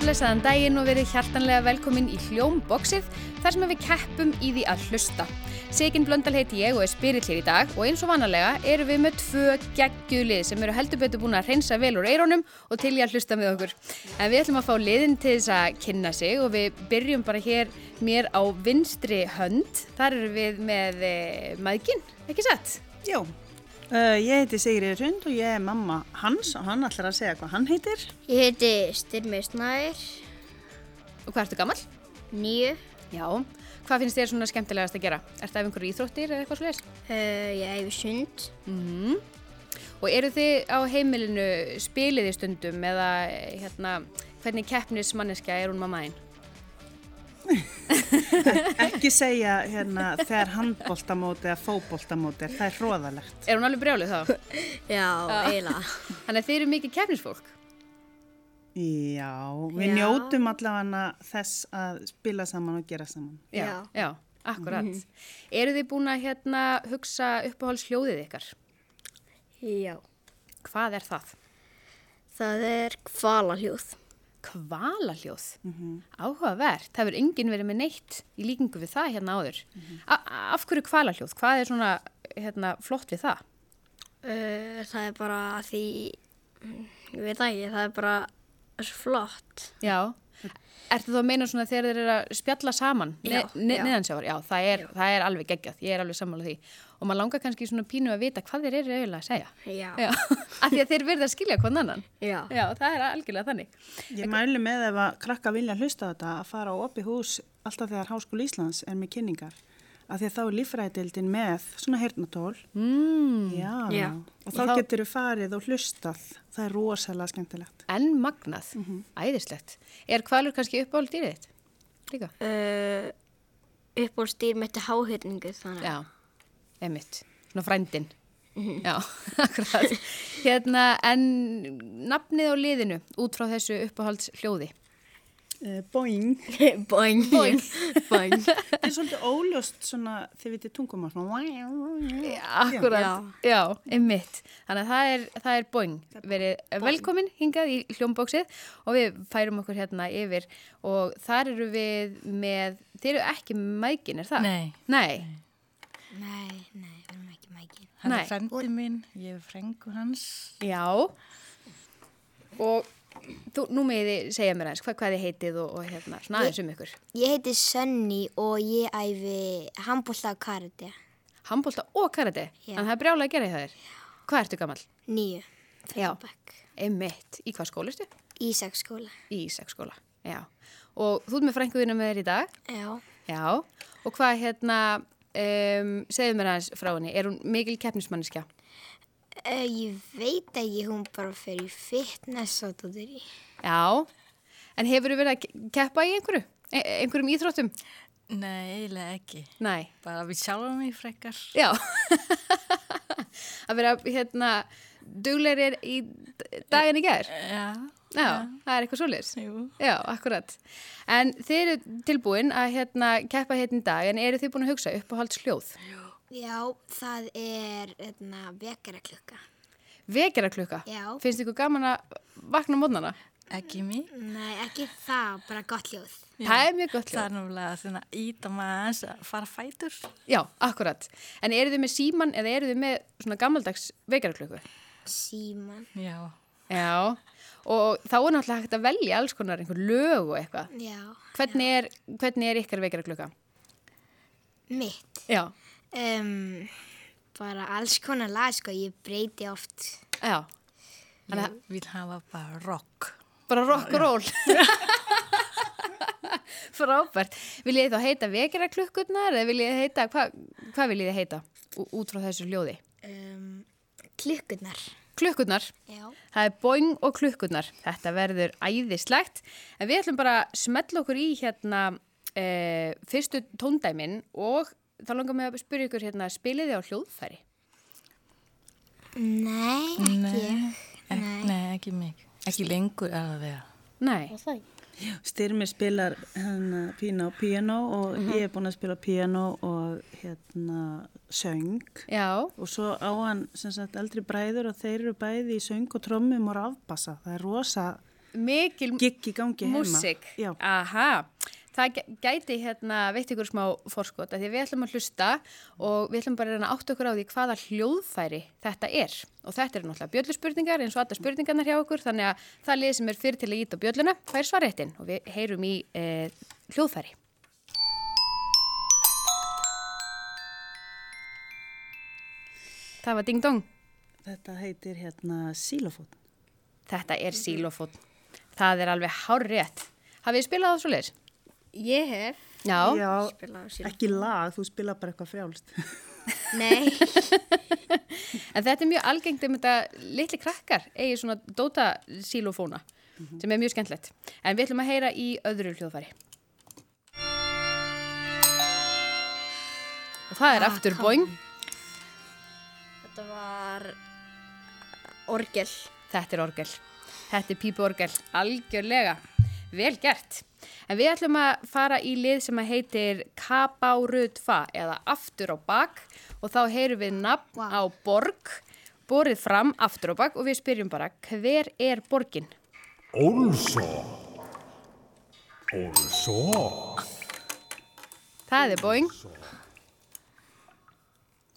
blessaðan daginn og verið hjartanlega velkomin í Hljómboxið þar sem við keppum í því að hlusta. Siginn Blöndal heiti ég og er spyrill hér í dag og eins og vanalega erum við með tvö geggjulið sem eru heldur betur búin að reynsa vel úr eirónum og til í að hlusta með okkur. En við ætlum að fá liðin til þess að kynna sig og við byrjum bara hér mér á vinstri hönd. Þar eru við með e, maðginn, ekki satt? Já, uh, ég heiti Sigriður Hund og ég er mamma hans og hann ætlar að segja hvað hann heitir. Ég heiti Styrmi Snær, Og hvað ertu gammal? nýju. Já. Hvað finnst þér svona skemmtilegast að gera? Ertu að einhverju íþróttir eða eitthvað slúðis? Uh, ég hefi sund. Og eru þið á heimilinu spilið í stundum eða hérna, hvernig keppnismanniska er hún mamma þín? Ekki segja hérna þegar handbóltamóti eða fóbóltamóti er, það er hróðalegt. Er hún alveg brjálið þá? Já, eiginlega. Þannig að þið eru mikið keppnisfólk. Já, við Já. njótum allavega þess að spila saman og gera saman. Já. Já, akkurat. Eru þið búin að hérna, hugsa uppáhalds hljóðið ykkar? Já. Hvað er það? Það er kvalaljóð. Kvalaljóð. Mhm. Áhugavert. Það hefur enginn verið með neitt í líkingu við það hérna áður. A- Af hverju kvalaljóð? Hvað er svona hérna, flott við það? Uh, það er bara að því, ég veit það ekki, það er bara svo flott. Já, ertu þá að meina svona þegar þeir eru að spjalla saman ne Já, ne já. neðansjávar, já, það er, það er alveg geggjað, ég er alveg sammála því og maður langar kannski svona pínu að vita hvað þeir eru eiginlega að segja Já. já. af því að þeir verða að skilja hvern annan Já. já, það er algjörlega þannig Ég mælu með ef að krakka vilja hlusta á þetta að fara á opið hús alltaf þegar Háskóli Íslands er með kynningar. Af því að þá er líffræðildin með svona hernatól. Mm. Já. Já. og þá, þá getur við farið og hlustað. Það er rosalega skemmtilegt. en magnað, Mhm. æðislegt er hvalur kannski uppáhald dýrið þitt? líka? Uh, upp á stýr með þetta háhyrningu þannig. Já, emitt, svona frændin Mhm. Já, akkurat hérna, en nafnið á liðinu út frá þessu uppáhalds hljóði Uh, boing. Boing. Boing. Boing. Það er svolítið óljóst svona, þið vitið tungumál, svona... Akkurat, já, einmitt. Þannig að það er, það er boing. Verið velkomin hingað í hljómbóksið og við færum okkur hérna yfir og þar eru við með, þeir eru ekki mækin, er það? Nei. Nei, Nei, nei, við erum ekki mækin. Hann Nei. er frendi minn, ég er frengu hans. já. Og þú, nú með þið segja mér aðeins hvað, hvað þið heitið og, og hérna, svona aðeins um ykkur. Ég heiti Sönni og ég æfi handbólta og karate. Hambólta og karate, en það er brjálega að gera í það þér. Hvað ertu gammal? Nýju. Já. Bekk. Einmitt. Í hvað skólistu? Ísaksskóla. Í sexskóla, já. Og þú ert með frænkuðinu með þér í dag? Já. Já, og hvað hérna, um, segðu mér aðeins frá henni, er hún mikil keppnismanniska? Uh, ég veit ekki, hún bara fer í fitness og það er í. Já, en hefur þú verið að ke- keppa í einhverju, e einhverjum íþróttum? Nei, eiginlega ekki. Næ, Bara við sjálfum mig frekar. já, að vera hérna duglegri í d- daginn í gerð? Já, Já, það er eitthvað svoleiðis. jú. Já, akkurat. En þið eru tilbúin að hérna keppa hérna í dag, en eru þið búin að hugsa uppáhalds hljóð? Já, það er hérna, etna, vekara klukka. Vekjara klukka? Já. Finnst ykkur gaman að vakna mótnana? Ekki mig. Nei, ekki það, bara gott ljóð. Það er mjög gott hljóð. Það er náttúrulega svona íta maður hans að fara fætur. Já, akkurat. En eru þið með síman eða eru þið með svona gammaldags vekjarklöku? Síman. Já. Já, og þá er náttúrulega hægt að velja alls konar einhver lög og eitthvað. Já. Hvernig er, hvernig er ykkar vekjarklöka? Mitt. Já, Um, bara alls konar lag, sko, ég breyti oft. já, Ég vil hafa bara rock. bara rock og roll. Frábært. Viljið þið þá heita vekjarklökkurnar eða viljið þið heita, hva, hvað viljið þið heita ú- út frá þessu hljóði? Um, klukkurnar. Klökkurnar. Já. Það er boing og klukkurnar. Þetta verður æðislegt. En við ætlum bara að smetla okkur í hérna e, fyrstu tóndæmin og þá langar mig að spyrja ykkur hérna, spilið þið á hljóðfæri? Nei, ekki. Nei. Ek, nei, ekki mig. Ekki lengur alveg. Nei. Styrmi spilar hérna pína á piano og Mhm. ég er búin að spila á piano og hérna söng Já, og svo á hann sem sagt eldri bræður og þeir eru bæði í söng og trommum og rafbassa. Það er rosa mikil Gigg í gangi heima. músík. Já. Aha, það gæ- gæti hérna, veitt ykkur smá fórskot, af því við ætlum að hlusta og við ætlum bara að reyna átt okkur á því hvaða hljóðfæri þetta er. Og þetta eru náttúrulega bjölluspurningar eins og alla spurningarnar hjá okkur, þannig að það lið sem er fyrir til að íta á bjölluna fær svaréttin og við heyrum í eh, hljóðfæri. Það var Ding Dong. Þetta heitir hérna sílofót. Þetta er sílofón. Það er alveg hárrétt. Hafið þið spilað það svo leiðis? Ég hef. Já. Já, Spila á sílófót. ekki lag, þú spila bara eitthvað frjálst. Nei. En þetta er mjög algengt um þetta litli krakkar eigi svona dóta sílofóna sem er mjög skemmtlegt. En við ætlum að heyra í öðru hljóðfæri. Og það er aftur boing. Þetta var orgel. Þetta er orgel. Þetta er pípuorgel. Algjörlega. Vel gert. En við ætlum að fara í lið sem að heitir Kabárutfa eða aftur á bak og þá heyrum við nafn á borg, borið fram aftur á bak og við spyrjum bara hver er borgin? Olsson. Olsson. Það er boing,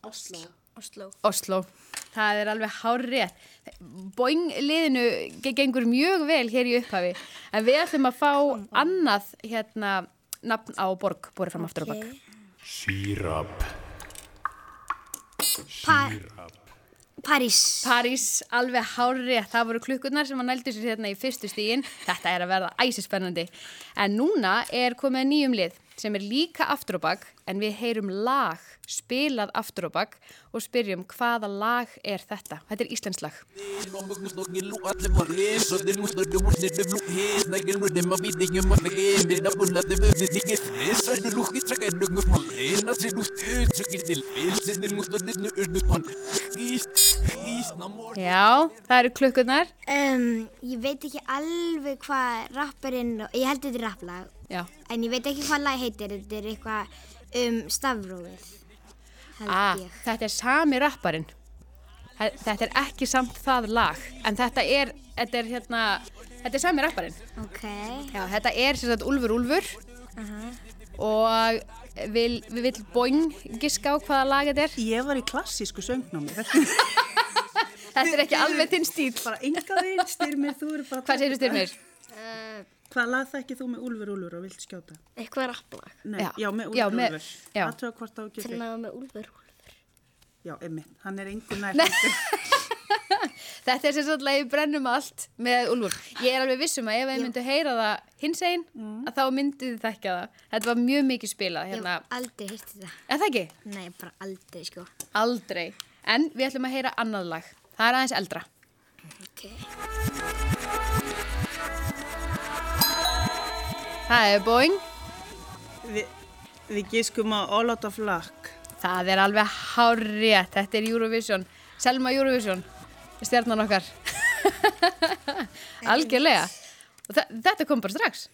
Oslo. Oslo. Það er alveg hárétt. Boing liðinu ge- gengur mjög vel hér í upphafi en við ætlum að fá annað hérna nafn á borg, borið fram aftur á bak. Sirap. Pa París. París, alveg hárið, það voru klukkurnar sem að nældu sér hérna í fyrstu stígin. Þetta er að verða æsispennandi. En núna er komið að nýjum lið sem er líka aftur á bak en við heyrum lag, spilað aftur á bak og spyrjum hvaða lag er þetta. Þetta er Íslands lag. Ég Já, það eru klukkurnar. Um, ég veit ekki alveg hvað rapparinn, ég held þetta er rapplag, Já. en ég veit ekki hvað lag heitir, þetta er eitthvað um stafrófið, held Ah, ég. þetta er sami rapparinn. Þe- Þetta er ekki samt það lag en þetta er, þetta er hérna, þetta er sami rapparinn. Ok, Já, þetta er sem sagt Úlfur Úlfur og vil, við vil boing giska á hvaða lag þetta er. Ég var í klassísku söngnámi. Þetta er Þetta er ekki alveg þinn stíl. bara enga veginn, styrmir, þú eru bara... Hvað segir þú styrmir? Hvað lag þekkir þú með Úlfur Úlfur og vilt skjóta? Eitthvað rapplag. Nei, Já. já, með Já, Úlfur með- Úlfur. já. Aðtöða hvort þá getur... Þannig að með Úlfur. Já, einmitt, hann er engu nær. Nei. Þetta er sem sagt lagið brennum allt með Úlfur. Ég er alveg vissum að ef þið myndu heyra það hins einn, Mm. að þá myndið þið þekkja það. Þetta var mjög mikið spilað ég hérna. hef aldrei hýrt þetta. Er það ekki? Nei, bara aldrei, sko. Aldrei. En við ætlum að heyra annað lag. Það er aðeins eldra. Ok. Það er boing. Vi, við giskum á All Out of Luck. Það er alveg hárétt, þetta er Eurovision, Selma Eurovision, stjarnan okkar. Algjörlega. Og þe- Þetta kom bara strax.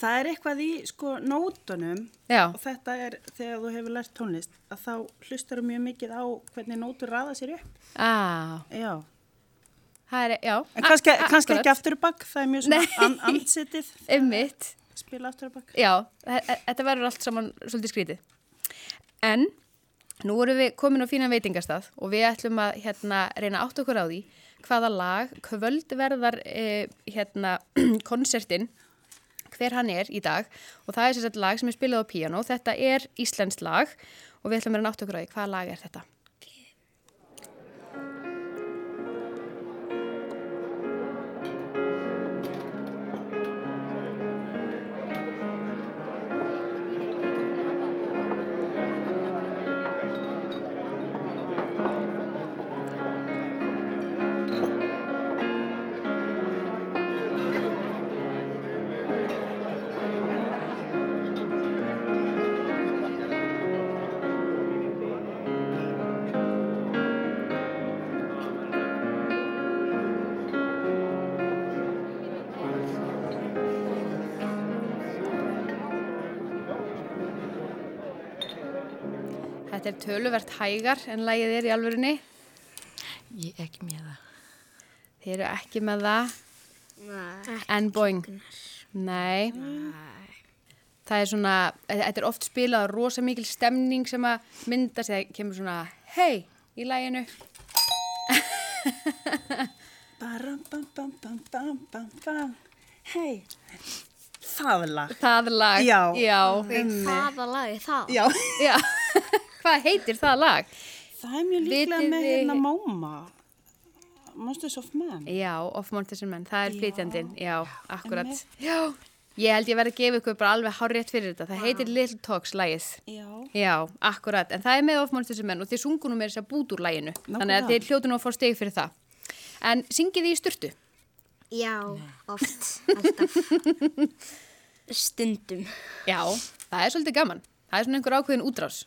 Það er eitthvað í sko nótunum Já. og þetta er þegar þú hefur lært tónlist að þá hlustar þú mjög mikið á hvernig nótur raða sér upp. Á, Já. Ah, það er, já. Ah, En kannski, a- kannski akkurat. ekki aftur á bakk, það er mjög Nei. svona an ansettið Einmitt, spila aftur á bakk. já, þe- þe- þetta verður allt saman svolítið skrítið. En nú erum við komin á fínan veitingastað og við ætlum að hérna, reyna átt okkur á því hvaða lag kvöldverðar eh, hérna, konsertin hver hann er í dag og það er sérstaklega lag sem er spilað á píano þetta er Íslands lag og við ætlum að reyna átt okkur á því hvaða lag er þetta Þetta er töluvert hægar en lagið er í alvörunni Ég er ekki með það. Þið eru ekki með það En boing. Nei. Það er svona, eh, þetta er oft spilað og rosa mikil stemning sem að mynda sig, það kemur svona hei í læginu. Baram, bam, bam, bam, bam, bam, bam. Hei. Það lag. Það lag. Já. Já. Mm. Hvaða lag er það? Já. Já. Hvað heitir það lag? Það er mjög líklega Vitið með þið- hérna Móma. Monsters of Man. Já, Of Mountains and Men, það er flytjandinn. Já, akkurat. Já. Ég held ég verði að gefa ykkur bara alveg hárétt fyrir þetta. Það heitir Little Talks lagið. Já. Já, akkurat, en það er með ofmálstöðsum menn og þið sungunum er þess að bút úr læginu þannig að Nákvæmlega. þið hljótu nú að fá stegi fyrir það en syngið þið í styrtu Já, oft, alltaf. Stundum. Já, það er svolítið gaman það er svona einhver ákveðin útrás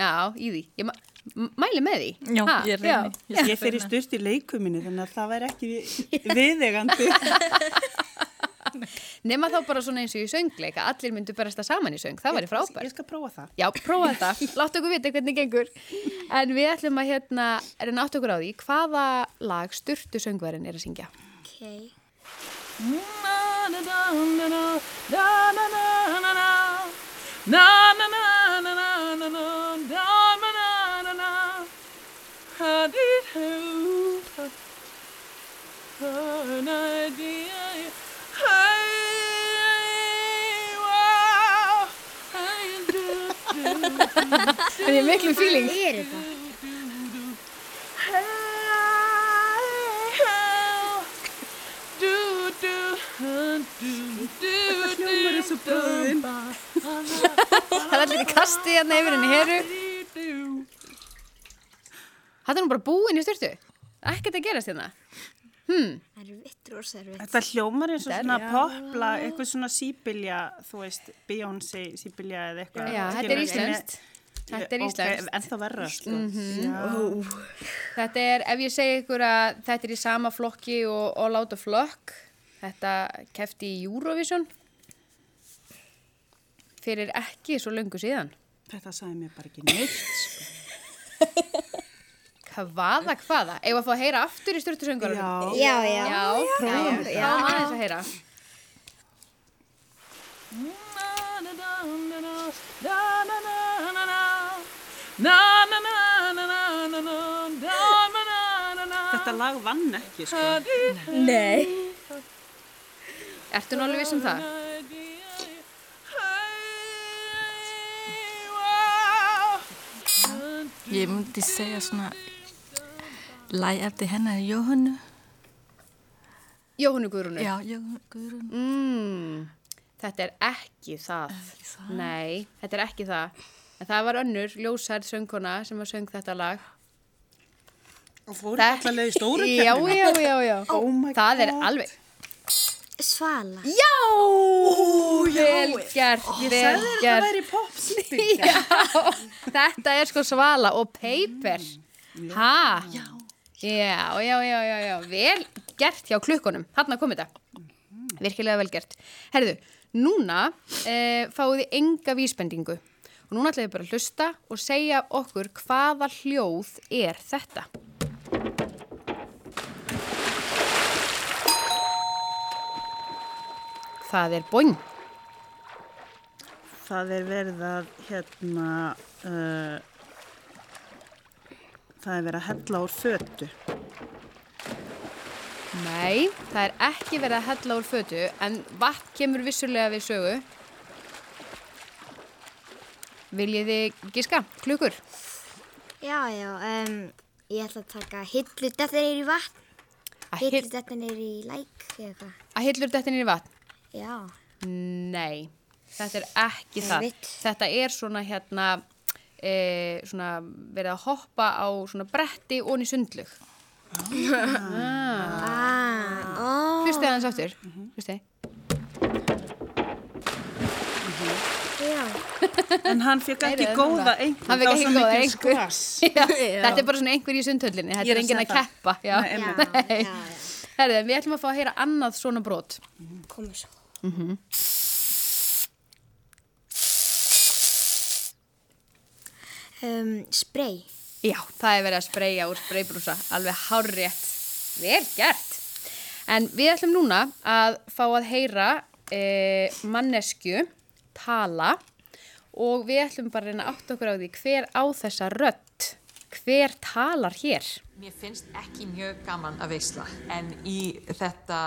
Já, í því, ég ma m- mæli með því Já, Ha, ég reyni. já. Ég fer í styrst í leikuminu þannig að það væri ekki vi- viðegandi. Nema þá bara svona eins og í söngleika allir myndu berast það saman í söng, það væri frábært Ég skal prófa það. Já, prófa þetta, láttu okkur vita hvernig gengur en við ætlum að hérna reyna átt okkur á því hvaða lag styrtu söngverinn er að syngja Ok. Það er miklu fíling Hver er það? Hljómar eins og bróðin. Það er allir í kasti hérna yfir henni, heru. Þetta er nú bara búin í styrtu. Ekkert að gerast hérna. Erfitt, rosa erfitt. Þetta hljómar eins og svona popla, eitthvað svona síbylja, þú veist, Beyoncé síbylja eða eitthvað. Já, þetta er Skilur, íslenskt. en- Þetta er Ok, íslenskt. Mhm. en það verra, sko. Já. Þetta er, ef ég segi ykkur að þetta er í sama flokki og All Out of Luck, þetta kefti í Eurovision fyrir ekki svo löngu síðan. Þetta sagði mér bara ekki neitt, sko. Hvaða, hvaða? Eigum við að fá að heyra aftur í styrtusöngarunum? Já. Já, Já, já. já, já, aðeins að heyra. Þetta lag vann ekki, sko. Nei. Ertu nú alveg viss um það? Ég myndi segja svona læg eftir hennar Jóhannu. Jóhannu Guðrúnu. Já, Jóhannu Guðrún. Mm, þetta er ekki það. Nei, þetta er ekki það. En það var önnur ljósærð söngkona sem að söng þetta lag. Og fór alltaf leið í stóru Já, kemni. já, já, já. Oh my það er God. alveg. Svala. Já! vel gert, vel Það gert. væri popsnýtt. Já, þetta er sko svala og paper. Ha? Já. Já, já, já, já, já. Vel gert hjá klukkonum. Þarna kom þetta. Virkilega vel gert. Herðu, núna e, fáið þið enga vísbendingu. Og núna ætlaðu bara að hlusta og segja okkur hvaða hljóð er þetta. Það er boing. Það er verið að, hérna, uh, það er verið að hella úr fötu. Nei, það er ekki verið að hella úr fötu en vatn kemur vissulega við sögu. Viljið þið giska? Klukur? Já, já, um, ég ætla að taka hillu þetta neyri vatn, Að hillu hill- þetta neyri læk eða eitthvað. að hillur þetta niður í vatn? Já, Nei, þetta er ekki það. Einmitt. Þetta er svona hérna, e, svona verið að hoppa á svona bretti og í sundlug. Ah. Hlustu aðeins aftur. Mhm. Hlustu. já, En hann fekk ekki Heyrið þið góða núna? einhver. Hann fékk það var ekki svo góða mikið einkunn. skrass. Já, þetta er bara svona einhver í sundhöllinni. Þetta Ég er er að enginn að segja það. keppa. Já. Nei, já, einmitt. já, já. Herðið, við ætlum að fá að heyra annað svona brot. Komum svo. Mhm. Um, spray. Já, það er verið að spreja úr spreybrúsa, alveg hárrétt. Vel gert. En við ætlum núna að fá að heyra e, mannesku tala og við ætlum bara að reyna átt okkur á því hver á þessa rödd, hver talar hér. Mér finnst ekki mjög gaman að veisla en í þetta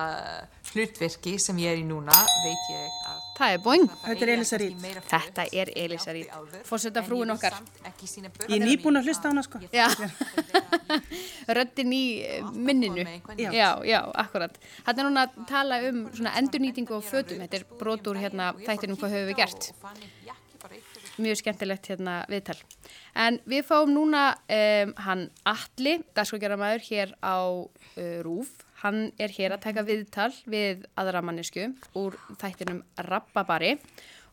hlutverki sem ég er í núna veit ég að Það er boing. Þetta er Elísa Reid. Þetta er Elísa Reid, forsetafrúin okkar. Ég er nýbúin að hlusta á hana sko. Já, röddin í eh, minninu. Já. Já, já, akkurat. Þetta er núna að tala um svona endurnýtingu á fötum. Þetta er brotur um hérna þættinum hvað höfum við gert. mjög skemmtilegt hérna viðtal. En við fáum núna um, hann Atli, dagskókjaramæður hér á uh, RÚF. Hann er hér að taka viðtal við aðra mannesku úr þættinum Rappabari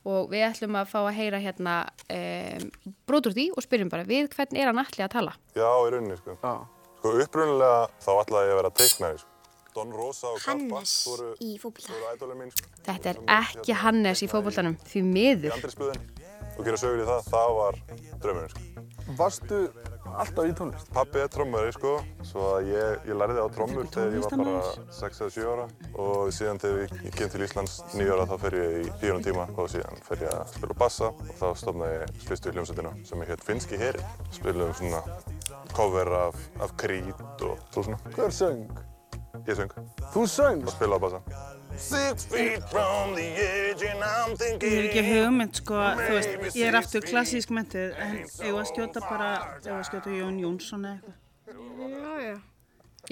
og við ætlum að fá að heyra hérna um, brot úr því og spyrjum bara við hvern er hann Atli að tala? Já, í rauninni, sko. Já. Sko, upprunalega þá ætlaði ég að vera teiknari, sko. Don Rosa og Karl Hannes Bass voru, í fótbolta. voru ædolum mín, sko. Þetta er ekki Hannes í fótboltanum, því Í miður. andrisblöðin og gera sögur í það, það var draumurinn, sko. Varstu alltaf í tónlist? Pappi er trommari, sko, svo að ég, ég lærði á trommur Þetta er þegar ég var bara tónlistamaður. 6 eða 7 ára og síðan þegar ég- ég kem til Íslands 9 ára þá fer ég í 4 tíma og síðan fer ég að spila á bassa og þá stofnaði ég fyrstu hljómsveitina sem ég hétt Finnski Heri. Spilum svona cover af, af Creed og svo svona. Hver söng? Ég söng. Þú söng? og spila á bassa Six feet from the edge and I'm thinking Ég er ekki hugmynd sko, þú veist, ég er aftur klassísk mentuð, en ég var að skjóta bara, ég var að skjóta Jón Jónsson eða eitthvað. Já, já.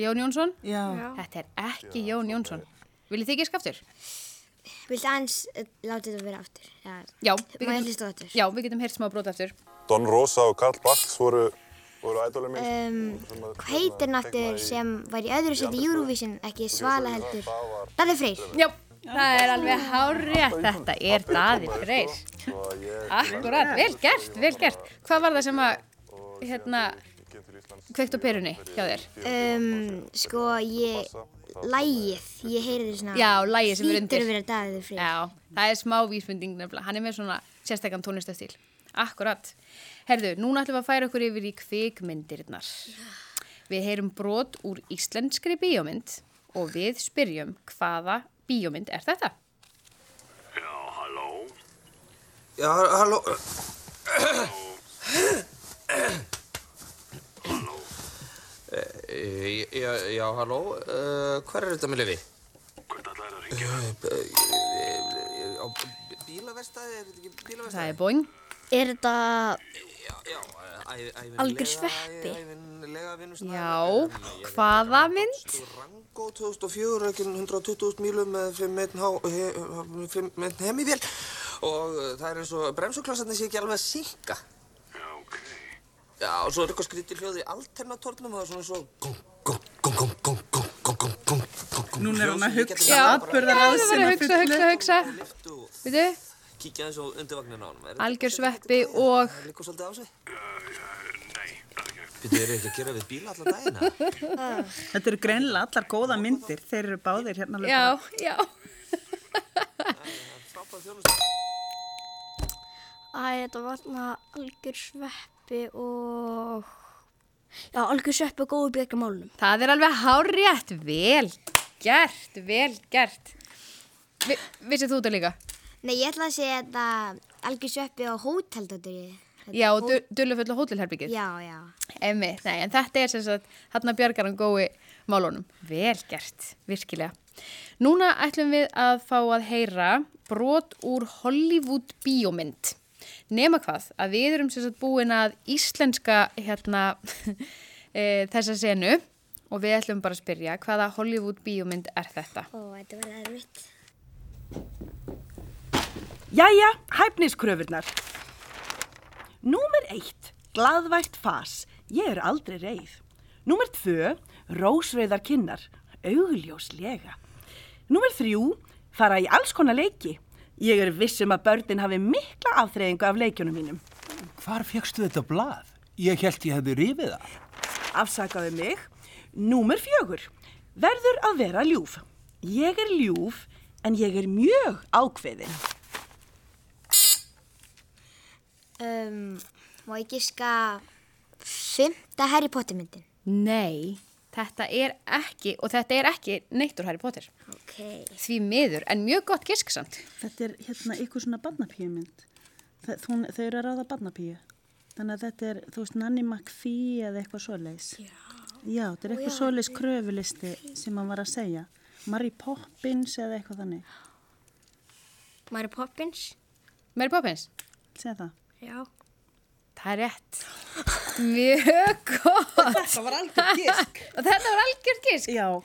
Jón Jónsson? Já. Þetta er ekki Jón Jónsson. Viljið þið ekki skaftur? Viltu aðeins eh, láta þetta vera aftur? Já. Já, við Má ég getum, hlusta á aftur? já, við getum heyrt smá brot aftur. Don Rosa og Karl Bax voru, voru ædolum minn Um, Hvað heitir hann aftur sem var í öðru seti í Eurovision, ekki Svala heldur? Daði Freyr. Já, það er alveg hárið þetta er daði freyr. Akkurat, vel gert, vel gert. Hvað var það sem að, hérna, kveikt á perunni hjá þér? Um, sko, ég, lægið, ég heyrði svona. Já, lagið sem er undir. Hlýtur að vera Daði Freyr. Já, það er smá vísmynding nefnilega. Hann er með svona sérstakann tónlistastíl. Akkurat. Herðu, núna ætlum við að færa okkur yfir í kvikmyndirnar. Við heyrum brot úr íslenskri bíómynd og við spyrjum hvaða bíómynd er þetta? Já, halló. Eh, Já, já, halló. Uh, hver er þetta með lifi? Hvert allar er að ringja? Bílaverstaði, er þetta ekki bílaverstaði? Það er Boeing. Er þetta Já, já, eh, æ- ævinlega... Algjör sveppi. Ævinlega vinnustæði. Já, hvaða mynd? Rangó 2004, reikinn 120.000 mílum með 5.1 hemivél og uh, það er eins og bremsuklassarnir sé ekki alveg að synka. Já, og svo er eitthvað skrítið hljóð í alternatornum, það er svona svo góng, góng, góng, góng, góng, góng, góng, góng, góng, góng, góng. Núna er hann að hugsa Já, atburðarás já, það var sem að að hugsa, fullu. hugsa, hugsa. Veitu, Kíkja eins og undir vagninu á hann. algjör sveppi og Það liggur svolítið á sig. Býttu, eru ekki að gera við bíla allan daginn? eða? Þetta eru greinilega allar góða myndir, þeir eru báðir hérna já, alveg já. Æ, þetta var þarna algjör sveppi og... Já, algjör sveppi og góðu bjökk á málunum. Það er alveg hárétt, vel gert, vel gert. Vi, vissið þú þetta líka? Nei, ég ætla að segja þetta algjör sveppi á hóteldóttur ég. Já, og dullufullu hótelherbyggið. Já, já. Emmi, nei, en þetta er sem sagt, hann að bjargar hann gói málunum. Vel gert, virkilega. Núna ætlum við að fá að heyra brot úr Hollywood bíómynd. Nema hvað, að við erum sem sagt búin að íslenska hérna e, þessa senu og við ætlum bara að spyrja hvaða Hollywood bíómynd er þetta? Ó, þetta var erfitt. Jæja, hæfniskröfurnar. Númer eitt, gladvægt fas. Ég er aldrei reyð. Númer tvö, rósröðar kinnar, augljóslega. Númer þrjú, fara í alls konar leiki. Ég er vissum að börnin hafi mikla afþreyingu af leikjunum mínum. Hvar fegstu þetta blað? Ég held ég hefði rifið það. Afsakaðu mig. Númer fjögur, verður að vera ljúf. Ég er ljúf, en ég er mjög ákveðin. Um, má ég giska fymta Harry Potter myndin? Nei, Þetta er ekki, og þetta er ekki neitt úr Harry Potter. Ok. Því miður, en mjög gott gisk samt. Þetta er hérna ykkur svona barnapíumynd. Þa- hún- Þau eru að ráða barnapíu. Þannig að þetta er, þú veist, Nanny McPhee eða eitthvað svoleiðis. Já. Já, þetta er eitthvað Já, svoleiðis kröfulisti sem hann var að segja. Mary Poppins eða eitthvað þannig. Mary Poppins. Mary Poppins? Segð það. Já. Það er rétt. Mjög gott. Og þetta var algjör gisk. og þetta var algjör gisk. Já.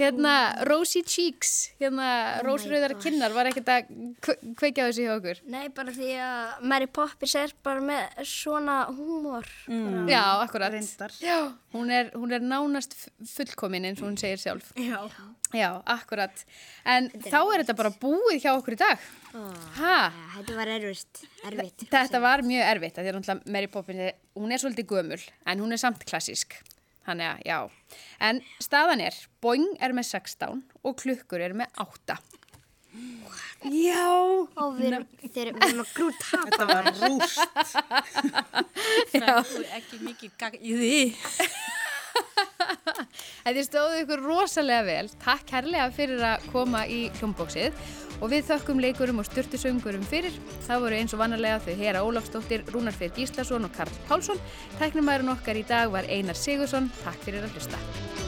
Hérna, Rosy Cheeks, hérna, oh Rósröðar kinnar var ekkert að kve- kveikja á þessu hjá okkur. Nei, bara því að Mary Poppins er bara með svona húmor. Mm. Já, akkurat. Reyndar. Já, hún er, hún er nánast f- fullkomin eins og hún segir sjálf. Já. Já, akkurat. En þá er Ah. þetta bara búið hjá okkur í dag. Hæ? Þetta var erfitt. erfitt. Þetta var mjög erfitt að því að náttúrulega Mary Poppins, er- hún er svolítið gömul en hún er samt klassísk. Þannig að, já. En staðan er, Boing er með 16 og klukkur er með 8. Já. Og við erum, þeir, við erum að grút hapa. Þetta var rúst. Það er ekki mikið gagn í því. En þið stóðu ykkur rosalega vel. Takk kærlega fyrir að koma í hljómbóksið og við þökkum leikurum og styrtusöngurum fyrir. Það voru eins og vannarlega þau Hera Ólafsdóttir, Rúnar Fyrir Gíslason og Karl Pálsson. Tæknumærin okkar í dag var Einar Sigursson. Takk fyrir að hlusta.